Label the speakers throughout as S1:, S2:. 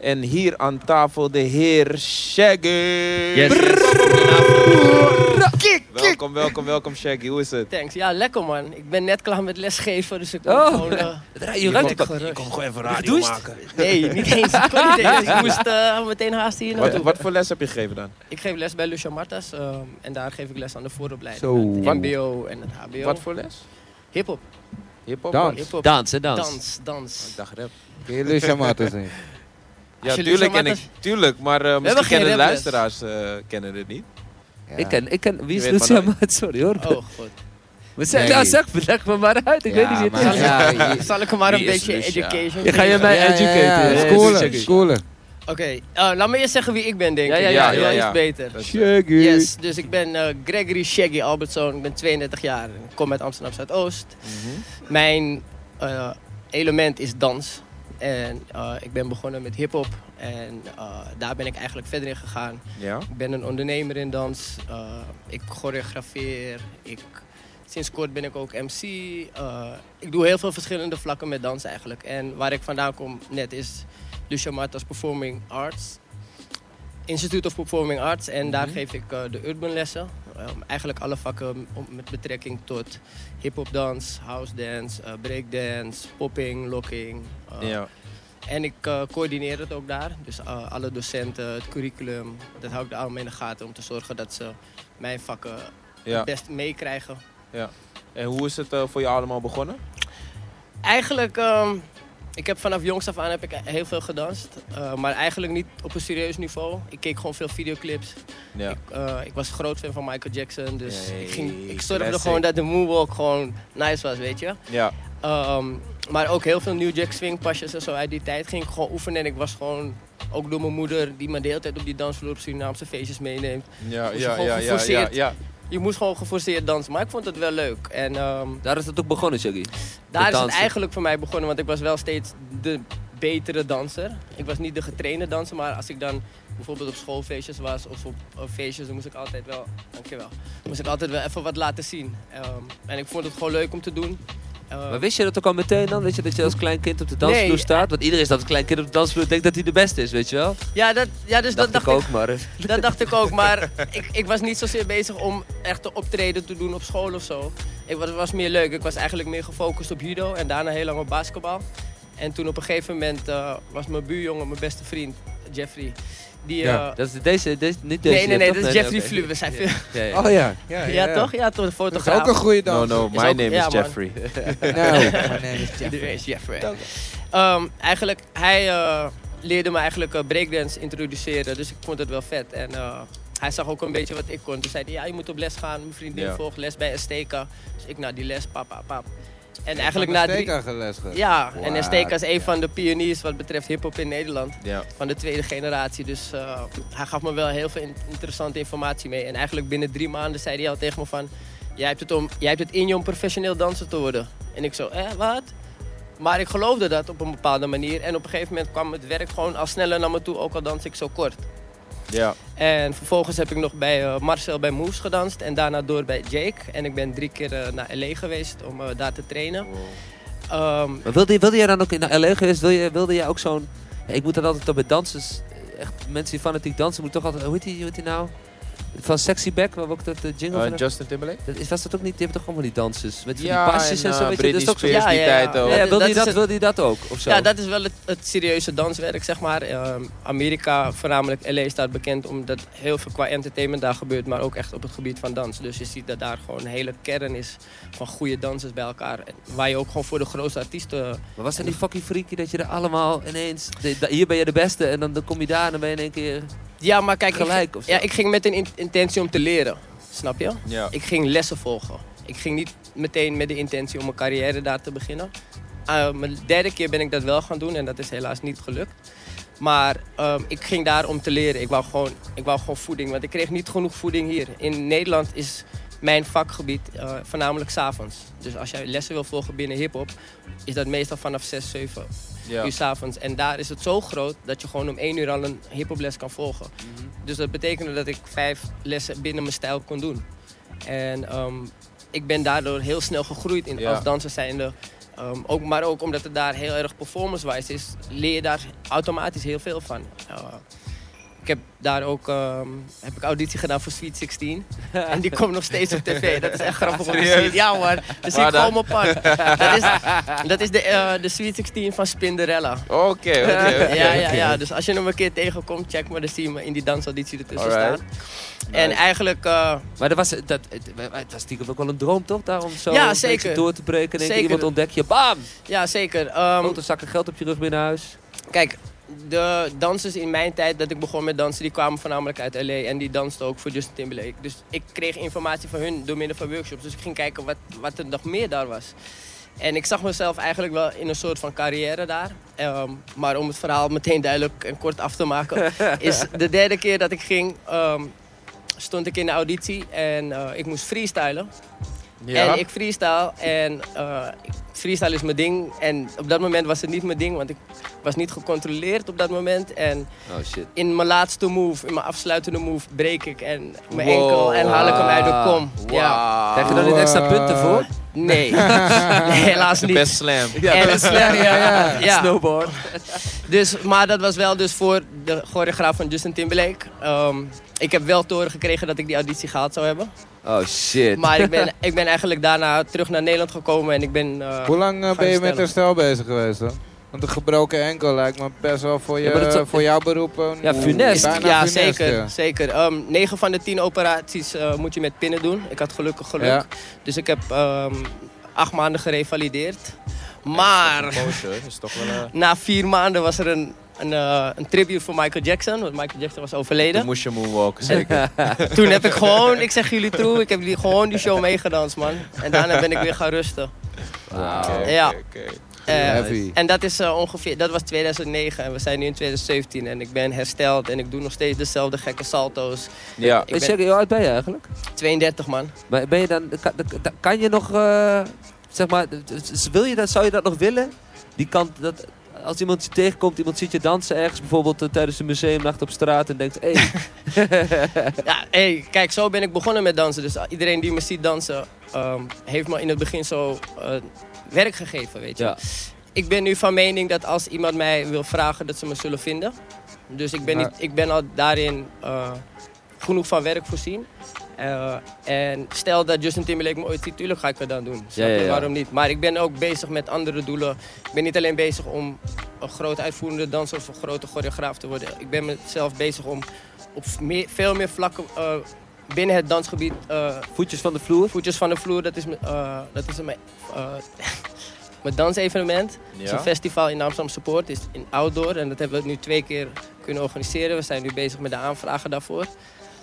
S1: En hier aan tafel de heer Shaggy.
S2: Yes, yes.
S3: Kik, kik.
S1: Welkom, welkom, welkom Shaggy. Hoe is het?
S4: Thanks. Ja, lekker man. Ik ben net klaar met lesgeven, dus ik
S2: Oh.
S4: kon gewoon... eh,
S2: Je ruikt het
S4: gerust.
S1: gewoon even
S4: Gedoucht? Nee, niet eens. Ik kon niet eens. Ik moest eh, meteen haasten hier
S1: Wat,
S4: naartoe.
S1: wat voor les heb je gegeven dan?
S4: Ik geef les bij Lucia Martas ehm, en daar geef ik les aan de
S3: Zo.
S4: vooropleiding. Het
S3: Wat-
S4: MBO en het HBO.
S1: Wat voor les?
S4: Hip-hop.
S1: Hip-hop? Oh,
S3: Dans.
S4: Hip-hop.
S2: Dans, hè, dans.
S4: Dans, dans.
S1: Ik dacht rap.
S3: Kun je Lucia Mata zijn?
S1: Ja,
S4: Als je
S1: tuurlijk,
S4: Lucia
S1: en ik, tuurlijk, maar eh, misschien
S4: hebben geen
S1: kennen de
S4: raples.
S1: luisteraars eh, kennen het niet.
S3: Ja.
S2: Ik ken, ik ken, wie
S1: Je
S2: is
S1: weet maar
S2: Lucia
S1: nooit.
S2: Maat? Sorry hoor.
S4: Oh, goed.
S2: Maar zeg,
S3: Nee.
S2: nou, zeg, me- leg me maar uit, ik
S3: Ja,
S2: weet niet wie
S3: maar-
S2: het is.
S3: Ja, je-
S4: Zal ik hem maar
S1: Wie
S4: een
S1: is
S4: beetje
S1: Lucia?
S4: education
S2: Je ga je
S4: geven?
S2: mij
S3: Ja, ja,
S2: educaten.
S3: ja,
S2: hè,
S3: Schoolen,
S2: Shaggy.
S3: schoolen.
S4: Oké, eh, laat me eerst zeggen wie ik ben, denk
S2: Ja,
S4: ik.
S2: ja,
S1: ja, ja, ja.
S4: is beter.
S1: Dat is- eh,
S3: Shaggy.
S4: Yes, dus ik ben eh, Gregory Shaggy Albertson. Ik ben 32 jaar en ik kom uit Amsterdam Zuidoost.
S1: mhm.
S4: Mijn eh, element is dans. En eh, ik ben begonnen met hip-hop. En eh, daar ben ik eigenlijk verder in gegaan.
S1: Ja?
S4: Ik ben een ondernemer in dans. Eh, ik choreografeer. Ik, sinds kort ben ik ook MC. Eh, ik doe heel veel verschillende vlakken met dans eigenlijk. En waar ik vandaan kom net is Lucia Martas Performing Arts. Institute of Performing Arts. En daar geef ik eh, de urban lessen. Eh, eigenlijk alle vakken om- met betrekking tot hip-hop dans, house dance, eh, breakdance, popping, locking. eh,
S1: Ja.
S4: en ik eh, coördineer het ook daar. Dus eh, alle docenten, het curriculum, dat hou ik allemaal in de gaten om te zorgen dat ze mijn vakken
S1: ja.
S4: het best meekrijgen.
S1: En hoe is het eh, voor je allemaal begonnen?
S4: Eigenlijk, ehm, ik heb vanaf jongs af aan heb ik heel veel gedanst. eh, maar eigenlijk niet op een serieus niveau. Ik keek gewoon veel videoclips.
S1: Ja.
S4: Eh, ik was groot fan van Michael Jackson. Dus
S1: Hey,
S4: ik, ging, ik zorgde
S1: classic.
S4: gewoon dat de moonwalk gewoon nice was, weet je.
S1: Ja.
S4: Ehm, maar ook heel veel New Jack Swing pasjes en zo. Uit die tijd ging ik gewoon oefenen. En ik was gewoon, ook door mijn moeder, die me de hele tijd op die dansvloer op Surinaamse feestjes meeneemt.
S1: Ja,
S4: Moest
S1: ja,
S4: gewoon
S1: ja, ja, ja,
S4: geforceerd.
S1: ja.
S4: Je moest gewoon geforceerd dansen. Maar ik vond het wel leuk. En ehm,
S2: Daar is het ook begonnen, Shaggy.
S4: daar is het
S2: dansen.
S4: eigenlijk voor mij begonnen. Want ik was wel steeds de betere danser. Ik was niet de getrainde danser. Maar als ik dan bijvoorbeeld op schoolfeestjes was of op op feestjes, dan moest ik altijd wel, dankjewel, moest ik altijd wel even wat laten zien. Ehm, en ik vond het gewoon leuk om te doen. Ehm,
S2: Maar wist je dat ook al meteen dan? Weet je dat je als klein kind op de dansvloer
S4: Nee.
S2: staat? Want iedereen staat als klein kind op de dansvloer denkt dat hij de beste is, weet je wel?
S4: ja, dat, ja, dus
S2: dacht,
S4: dat dacht
S2: ik
S4: ik
S2: ook, maar. eh,
S4: Dat dacht ik ook, maar ik, ik was niet zozeer bezig om echt te optreden te doen op school of zo. Ik was, was meer leuk. Ik was eigenlijk meer gefocust op judo en daarna heel lang op basketbal. En toen op een gegeven moment eh, was mijn buurjongen, mijn beste vriend, Jeffrey. Die,
S3: Ja,
S4: eh,
S2: Dat is deze, deze niet deze.
S4: nee, nee, nee,
S2: toch?
S4: dat is Jeffrey
S2: oké.
S4: Flu. We zijn veel-
S2: Ja, ja.
S3: Oh ja.
S4: ja, toch? Ja, toch, de
S3: Dat is
S4: fotograaf.
S3: ook een goede
S1: No,
S3: dans.
S1: no,
S4: Nou, Is
S1: my
S4: ook-
S1: name is
S4: ja, man.
S1: Jeffrey.
S3: Nou, mijn naam is Jeff.
S4: Iedereen is Jeffrey. Ehm, eigenlijk, hij eh, leerde me eigenlijk eh, breakdance introduceren, dus ik vond het wel vet. En eh, hij zag ook een beetje wat ik kon. Toen zei hij, ja, je moet op les gaan. Mijn vriendin
S1: Ja.
S4: volgt les bij Esteka. Dus ik naar die les, pap, pap, pap. En eigenlijk na
S3: naar
S4: drie...
S3: Ja.
S4: Ja,
S3: Wow.
S4: en Esteka is een van de pioniers wat betreft hiphop in Nederland.
S1: Ja.
S4: Van de tweede generatie. Dus eh, hij gaf me wel heel veel in- interessante informatie mee. En eigenlijk binnen drie maanden zei hij al tegen me van... Jij hebt het, om, jij hebt het in je om professioneel danser te worden. En ik zo, eh, wat? Maar ik geloofde dat op een bepaalde manier. En op een gegeven moment kwam het werk gewoon al sneller naar me toe. Ook al dans ik zo kort.
S1: Ja.
S4: En vervolgens heb ik nog bij eh, Marcel bij Moves gedanst. En daarna door bij Jake. En ik ben drie keer eh, naar L.A. geweest om eh, daar te trainen. Ehm,
S2: Maar wilde, je- wilde jij dan ook in LA geweest? Wilde, je- wilde jij ook zo'n. Ja, ik moet dat altijd op bij dansers. eh, Echt mensen die fanatiek dansen, moet toch altijd. Hoe heet die, hoe heet die nou? Van Sexy Back, waar we ook dat eh, jingle
S1: Eh,
S2: van
S1: Justin Timberlake?
S2: dat is, was dat ook niet? Die hebben toch allemaal die dansers? Met van
S1: Ja,
S2: die pasjes
S1: en,
S2: en,
S1: eh,
S2: zo. Weet je, dat is
S1: Britney
S2: toch zo.
S1: Spears. die tijd ook.
S2: Ja,
S4: dat is-
S2: wilde,
S4: dat
S2: je
S4: is
S2: dat,
S4: het-
S2: wilde je dat ook? Of zo?
S4: Ja, dat is wel het, het serieuze danswerk, zeg maar. Ehm, Amerika, voornamelijk LA, staat bekend omdat heel veel qua entertainment daar gebeurt, maar ook echt op het gebied van dans. Dus je ziet dat daar gewoon een hele kern is van goede dansers bij elkaar. En Waar je ook gewoon voor de grootste artiesten.
S2: Maar was dat niet fucking freaky dat je er allemaal ineens... de- da- hier ben je de beste en dan, dan kom je daar en dan ben je in één keer...
S4: Ja, maar kijk,
S2: Gelijk
S4: ik,
S2: of zo.
S4: ja, ik ging met een in- intentie om te leren. Snap je?
S1: Ja.
S4: Ik ging lessen volgen. Ik ging niet meteen met de intentie om mijn carrière daar te beginnen. Eh, mijn derde keer ben ik dat wel gaan doen en dat is helaas niet gelukt. Maar ehm, ik ging daar om te leren. Ik wou, gewoon, ik wou gewoon voeding, want ik kreeg niet genoeg voeding hier. In Nederland is mijn vakgebied eh, voornamelijk s'avonds. Dus als jij lessen wil volgen binnen hip-hop, is dat meestal vanaf 6, 7
S1: Ja.
S4: uur s'avonds. En daar is het zo groot dat je gewoon om 1 uur al een hiphoples kan volgen.
S1: Mhm.
S4: Dus dat betekende dat ik vijf lessen binnen mijn stijl kon doen. En ehm, ik ben daardoor heel snel gegroeid in,
S1: Ja.
S4: als danser zijnde. Eh, Ehm, ook, maar ook omdat het daar heel erg performance-wise is, leer je daar automatisch heel veel van. Eh, ik heb daar ook ehm, heb ik auditie gedaan voor Sweet 16. En die komt nog steeds op tv. Dat is echt grappig om te zien. Ja hoor, dus ik
S1: Waar dan?
S4: gewoon op pad. Dat is, dat is de, eh, de Sweet 16 van Spinderella.
S1: Oké, oké, oké.
S4: ja, ja, ja, dus als je hem een keer tegenkomt, check maar, dan zie je me in die dansauditie ertussen
S1: Alright.
S4: staan. En eigenlijk, eh,
S2: Maar dat was, dat, het, het was stiekem ook wel een droom, toch? Daarom zo
S4: Ja,
S2: een
S4: zeker.
S2: beetje door te breken. En
S4: Zeker.
S2: iemand ontdek je, bam!
S4: ja zeker. ehm,
S2: Grote zakken geld op je rug binnen huis.
S4: Kijk, de dansers in mijn tijd dat ik begon met dansen, die kwamen voornamelijk uit LA en die dansten ook voor Justin Timberlake. Dus ik kreeg informatie van hun door middel van workshops. Dus ik ging kijken wat, wat er nog meer daar was. En ik zag mezelf eigenlijk wel in een soort van carrière daar. Ehm, maar om het verhaal meteen duidelijk en kort af te maken, is de derde keer dat ik ging, ehm, stond ik in de auditie en eh, ik moest freestylen.
S1: Ja.
S4: En ik freestyle en eh, freestyle is mijn ding. En op dat moment was het niet mijn ding, want ik was niet gecontroleerd op dat moment. En
S2: Oh shit.
S4: in mijn laatste move, in mijn afsluitende move, breek ik en mijn
S1: Wow.
S4: enkel en haal ik hem uit de kom.
S1: Wow.
S4: Ja,
S2: Krijg je dan niet extra punten voor?
S4: nee. Nee, helaas
S1: De
S4: niet.
S1: best slam.
S2: Ja,
S4: En-
S2: slam, ja, ja.
S4: Ja.
S2: Snowboard.
S4: Dus, maar dat was wel dus voor de choreograaf van Justin Timberlake. Ehm, ik heb wel te horen gekregen dat ik die auditie gehaald zou hebben.
S2: Oh shit.
S4: Maar ik ben, ik ben eigenlijk daarna terug naar Nederland gekomen en ik ben... eh,
S3: Hoe lang eh, ben je met
S4: stellen.
S3: herstel bezig geweest dan? Want een gebroken enkel lijkt me best wel voor, je,
S2: Ja, maar dat is-
S3: voor jouw beroep. een-
S2: Ja, funest.
S3: bijna
S4: ja,
S3: funest,
S4: zeker.
S3: ja.
S4: zeker. Ehm 9 van de 10 operaties eh, moet je met pinnen doen. Ik had gelukkig geluk.
S3: Ja.
S4: Dus ik heb ehm acht maanden gerevalideerd. Maar
S1: Motion is toch wel eh, een...
S4: na vier maanden was er een, een, eh, een tribute voor Michael Jackson. Want Michael Jackson was
S1: Dan
S4: overleden.
S1: moest je moonwalken, zeker.
S4: Toen heb ik gewoon, ik zeg jullie true, ik heb die, gewoon die show meegedanst, man. En daarna ben ik weer gaan rusten.
S1: Oké,
S4: Ja.
S1: oké, oké.
S4: Eh,
S3: Heavy.
S4: en dat is eh, ongeveer, dat was 2009 en we zijn nu in 2017 en ik ben hersteld en ik doe nog steeds dezelfde gekke salto's.
S1: Ja.
S4: Ik ben
S2: Zeg, hoe oud ben je eigenlijk?
S4: 32 man.
S2: Maar ben je dan, kan, kan je nog, eh, zeg maar, wil je dat, zou je dat nog willen? Die kant, dat, als iemand je tegenkomt, iemand ziet je dansen ergens, bijvoorbeeld eh, tijdens een museumnacht op straat en denkt, hé, hey,
S4: Ja, hey, kijk, zo ben ik begonnen met dansen. Dus iedereen die me ziet dansen, ehm, heeft me in het begin zo eh, werk gegeven, weet je.
S2: Ja.
S4: Ik ben nu van mening dat als iemand mij wil vragen, dat ze me zullen vinden. Dus ik ben,
S3: Ja.
S4: niet, ik ben al daarin eh, genoeg van werk voorzien. Eh, en stel dat Justin Timberlake me ooit ziet, tuurlijk ga ik het dan doen. Snap
S2: Ja, ja,
S4: je?
S2: ja.
S4: Waarom niet? Maar ik ben ook bezig met andere doelen. Ik ben niet alleen bezig om een groot uitvoerende danser of een grote choreograaf te worden. Ik ben mezelf bezig om op meer- veel meer vlakken eh, binnen het dansgebied eh,
S2: voetjes van de vloer.
S4: voetjes van de vloer. Dat is, mijn- eh, dat is mijn, eh, mijn dansevenement. Het is een
S1: Ja.
S4: festival in Amsterdam Support. Het is in outdoor en dat hebben we nu twee keer kunnen organiseren. We zijn nu bezig met de aanvragen daarvoor.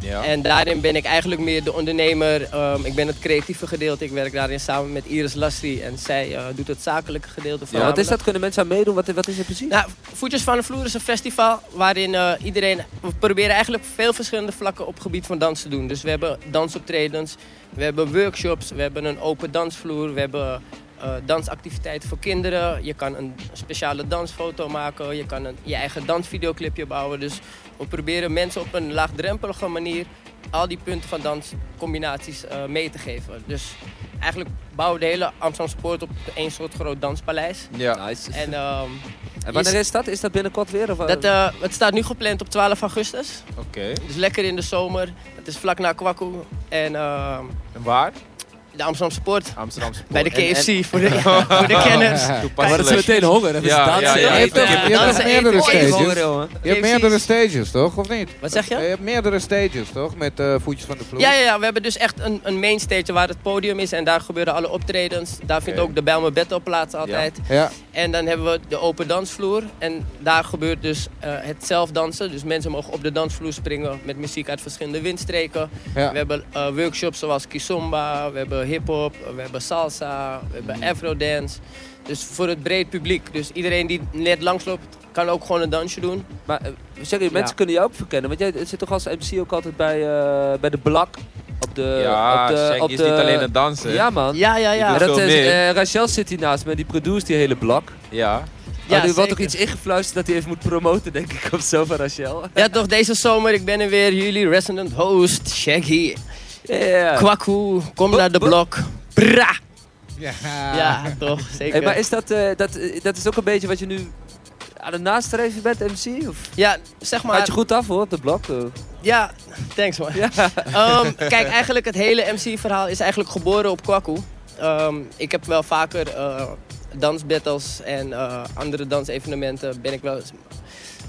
S1: Ja.
S4: En daarin ben ik eigenlijk meer de ondernemer. Ehm, ik ben het creatieve gedeelte. Ik werk daarin samen met Iris Lassie. En zij eh, doet het zakelijke gedeelte van
S2: Ja, wat is dat? Kunnen mensen aan meedoen? Wat, wat is het precies?
S4: nou, Voetjes van de Vloer is een festival waarin eh, iedereen... We proberen eigenlijk veel verschillende vlakken op het gebied van dans te doen. Dus we hebben dansoptredens, we hebben workshops, we hebben een open dansvloer, we hebben eh, dansactiviteiten voor kinderen. Je kan een speciale dansfoto maken, je kan een, je eigen dansvideoclipje bouwen. Dus we proberen mensen op een laagdrempelige manier al die punten van danscombinaties eh, mee te geven. Dus eigenlijk bouwen we de hele Amsterdamse poort op één soort groot danspaleis.
S1: Ja.
S2: Nice. En,
S4: En ehm,
S2: wanneer is dat? Is dat binnenkort weer? Of, eh,
S4: dat, eh, het staat nu gepland op 12 augustus.
S1: Oké.
S4: Dus lekker in de zomer. Het is vlak na Kwaku. En ehm,
S1: En waar?
S4: de Amsterdamse Poort.
S1: Amsterdamse
S4: Bij de
S3: Oh,
S1: Poort. En-
S4: KFC voor, de, voor de kenners.
S1: en-
S2: maar dat is
S1: Toepasselijk.
S2: meteen honger. Dat is
S1: Ja,
S2: dansen.
S1: ja, ja.
S2: eten.
S3: Je hebt toch- je hebt toch
S4: Dansen,
S3: meerdere
S4: eten,
S3: stages?
S2: Honger, jongen.
S3: Je hebt
S4: KFC's.
S3: meerdere stages toch, of niet?
S4: Wat zeg je?
S3: Je hebt meerdere stages toch, met eh, voetjes van de vloer?
S4: Ja, ja, ja, we hebben dus echt een, een main stage waar het podium is. En daar gebeuren alle optredens. Daar vindt
S1: Oké.
S4: ook de Bijl Mijn Battle plaats altijd.
S3: Ja.
S4: En dan hebben we de open dansvloer. En daar gebeurt dus eh, het zelfdansen. Dus mensen mogen op de dansvloer springen met muziek uit verschillende windstreken.
S3: Ja.
S4: We hebben eh, workshops zoals kizomba, we hebben hip-hop, we hebben salsa, we hebben afrodance. Dus voor het breed publiek. Dus iedereen die net langsloopt, kan ook gewoon een dansje doen.
S2: Maar eh, zeg, je, mensen kunnen jou ook verkennen. Want jij zit toch als MC ook altijd bij, eh, bij de Blak? Op de,
S1: Ja,
S2: eh, op de,
S1: Shaggy
S2: op
S1: is
S2: de-
S1: niet alleen het dansen.
S2: Ja, man.
S4: Ja, ja,
S1: Je
S4: ja.
S2: En
S1: doet
S2: dat
S1: veel
S2: is,
S1: meer.
S2: eh, Rachel zit hier naast me, die produceert die hele blak.
S1: Ja.
S4: Ja,
S2: Ja, er wordt ook
S4: zeker.
S2: iets ingefluisterd dat hij even moet promoten, denk ik, of zo van Rachel.
S4: Ja, toch deze zomer. Ik ben er weer. Jullie resident host, Shaggy.
S2: Ja.
S4: Kwaku, kom naar de
S2: Boep,
S4: blok. Bra!
S3: Ja.
S4: Ja, toch, zeker.
S2: Ah. Hey, maar is dat, eh, dat, eh, dat is ook een beetje wat je nu aan het nastreven bent, MC? Of
S4: Ja, zeg maar.
S2: had je goed af hoor, op de blok? eh.
S4: Ja, thanks man.
S2: Ja.
S4: Ehm, kijk, eigenlijk het hele MC-verhaal is eigenlijk geboren op Kwaku. Ehm, ik heb wel vaker eh, dansbattles en eh, andere dansevenementen ben ik wel eens,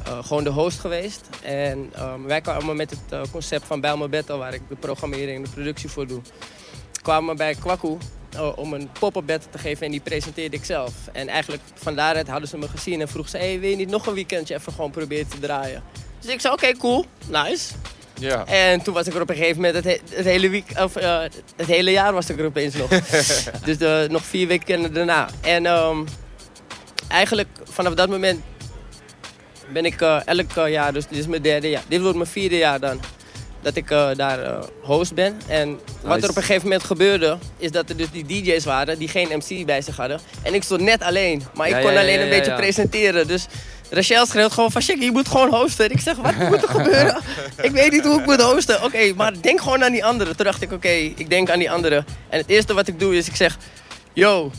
S4: eh, gewoon de host geweest. En ehm, wij kwamen met het eh, concept van Bijlmer Battle, waar ik de programmering en de productie voor doe, kwamen bij Kwaku. eh, om een pop-up battle te geven en die presenteerde ik zelf. En eigenlijk van daaruit hadden ze me gezien en vroegen ze... Hey, wil je niet nog een weekendje even gewoon proberen te draaien? Dus ik zei, oké, cool, nice.
S1: Ja.
S4: En toen was ik er op een gegeven moment, het, he- het, hele, week, of, eh, het hele jaar was ik er opeens nog. dus eh, nog vier weken daarna. En ehm, eigenlijk vanaf dat moment ben ik eh, elk eh, jaar, dus dit is mijn derde jaar, dit wordt mijn vierde jaar dan, dat ik eh, daar eh, host ben. En wat
S2: Nice.
S4: er op een gegeven moment gebeurde, is dat er dus die DJ's waren die geen MC bij zich hadden. En ik stond net alleen, maar ik
S2: Ja,
S4: kon
S2: ja, ja,
S4: alleen een
S2: ja,
S4: beetje
S2: ja.
S4: presenteren. Dus Rachel schreeuwt gewoon van, Shaggy, je moet gewoon hosten. Ik zeg, wat moet er gebeuren? ik weet niet hoe ik moet hosten. Oké, maar denk gewoon aan die anderen. Toen dacht ik, oké, ik denk aan die anderen. En het eerste wat ik doe is, ik zeg, yo,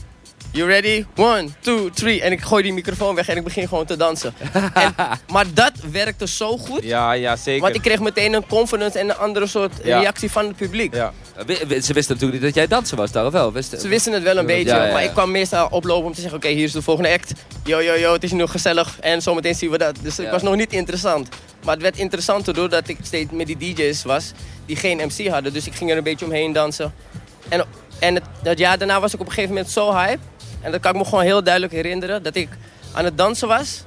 S4: you ready? One, two, three. En ik gooi die microfoon weg en ik begin gewoon te dansen. en, maar dat werkte zo goed.
S1: Ja, ja, zeker.
S4: Want ik kreeg meteen een confidence en een andere soort
S1: Ja.
S4: reactie van het publiek.
S1: Ja.
S2: Eh, wi- wi- Ze wisten natuurlijk niet dat jij danser was daar, of wel? Wisten,
S4: Ze wisten het wel een beetje,
S2: ja, ja.
S4: maar ik kwam meestal oplopen om te zeggen, oké, hier is de volgende act. Yo, yo, yo, het is nu gezellig en zometeen zien we dat. Dus het
S2: Ja.
S4: was nog niet interessant. Maar het werd interessanter doordat ik steeds met die DJ's was die geen MC hadden. Dus ik ging er een beetje omheen dansen. En, en het, dat jaar daarna was ik op een gegeven moment zo hype. En dat kan ik me gewoon heel duidelijk herinneren, dat ik aan het dansen was.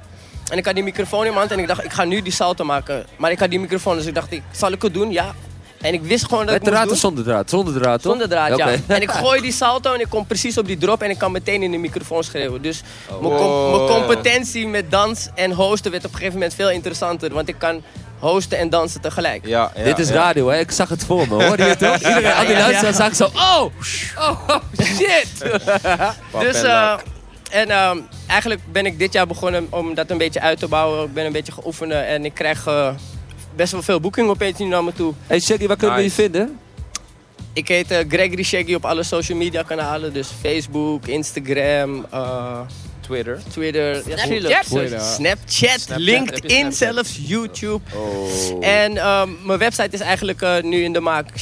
S4: En ik had die microfoon in mijn hand en ik dacht, ik ga nu die salto maken. Maar ik had die microfoon, dus ik dacht, ik, zal ik het doen? Ja. En ik wist gewoon dat
S2: Met
S4: ik moest
S2: draad
S4: doen.
S2: of zonder draad? Zonder draad, toch?
S4: Zonder draad,
S2: Oké.
S4: ja. En ik gooi die salto en ik kom precies op die drop en ik kan meteen in de microfoon schreeuwen. Dus mijn com-
S1: Wow.
S4: mijn competentie met dans en hosten werd op een gegeven moment veel interessanter. Want ik kan hosten en dansen tegelijk.
S1: Ja, ja,
S2: Dit is
S1: ja.
S2: radio, hè? Ik zag het voor me, hoor. Je toch? Iedereen aan die
S4: Ja, ja,
S2: luisteraar
S4: ja.
S2: zag zo... Oh! Oh, oh, shit!
S1: Pap
S4: dus,
S1: en
S4: eh,
S1: lak.
S4: en ehm, eigenlijk ben ik dit jaar begonnen om dat een beetje uit te bouwen. Ik ben een beetje geoefenen en ik krijg eh, best wel veel boekingen opeens nu naar me toe.
S2: Hey Shaggy, waar kunnen we je
S1: Nice.
S2: vinden?
S4: Ik heet eh, Gregory Shaggy op alle social media kanalen. Dus Facebook, Instagram, eh,
S1: Twitter.
S4: Twitter,
S3: Twitter.
S4: Snapchat,
S3: Twitter.
S4: Snapchat, LinkedIn, zelfs YouTube.
S1: Oh.
S4: En ehm, mijn website is eigenlijk eh, nu in de maak,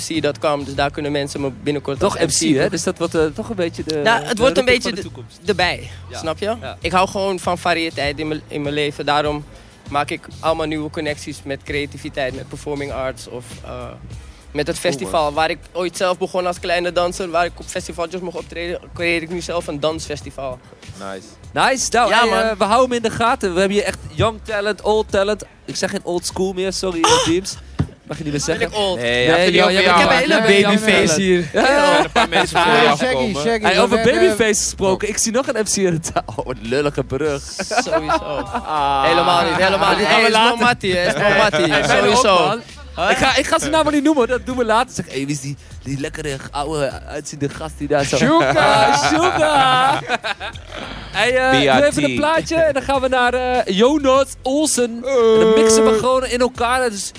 S4: shaggymc.com. Dus daar kunnen mensen me binnenkort
S2: Toch
S4: als
S2: MC, hè? Dus dat wordt eh, toch een beetje de...
S4: Nou, het
S2: de
S4: wordt een
S2: roeping
S4: beetje
S2: van de
S4: de-
S2: toekomst.
S4: erbij,
S2: Ja.
S4: snap je?
S2: Ja.
S4: Ik hou gewoon van variëteit in mijn- in mijn leven. Daarom maak ik allemaal nieuwe connecties met creativiteit, met performing arts of... eh, met het festival waar ik ooit zelf begon als kleine danser, waar ik op festivaltjes mocht optreden, creëer ik nu zelf een dansfestival.
S1: Nice.
S2: Nice. Nou,
S4: Ja,
S2: hey,
S4: man.
S2: eh, we houden hem in de gaten. We hebben hier echt young talent, old talent. Ik zeg geen old school meer, sorry,
S4: Ah!
S2: teams. Mag je niet meer
S4: Ben
S2: zeggen.
S4: ik old?
S1: Nee,
S2: Nee,
S1: even die
S2: joh,
S1: over
S2: jij
S1: jou,
S4: ik heb
S2: maar-
S4: een
S1: man.
S4: hele
S2: nee, jammer.
S4: babyface hier.
S1: Er
S2: Ja.
S1: zijn een paar mensen voor
S3: Hey,
S1: jou
S3: Ah, Shaggy,
S1: gekomen.
S3: Shaggy.
S2: Hey, over
S3: we hebben-
S2: babyface gesproken. Ik zie nog een MC in de taal. Oh, wat lullige brug.
S4: Sowieso. Helemaal niet, helemaal niet.
S2: Gaan we
S4: Hey, het is
S2: later.
S4: gewoon Mattie, hè. Het is gewoon Mattie.
S2: Hey, bijna ook,
S4: Sowieso.
S2: man. Ik ga, ik ga zijn naam maar niet noemen, hoor. dat doen we later. Zeg, hey, wie is die, die lekkere, oude, uitziende gast die daar zo... Shuka! Shuka! hey, eh, doe
S1: BRT.
S2: even Oh. een plaatje en dan gaan we naar eh, Jonas Olsen. En dan mixen we gewoon in elkaar. Dus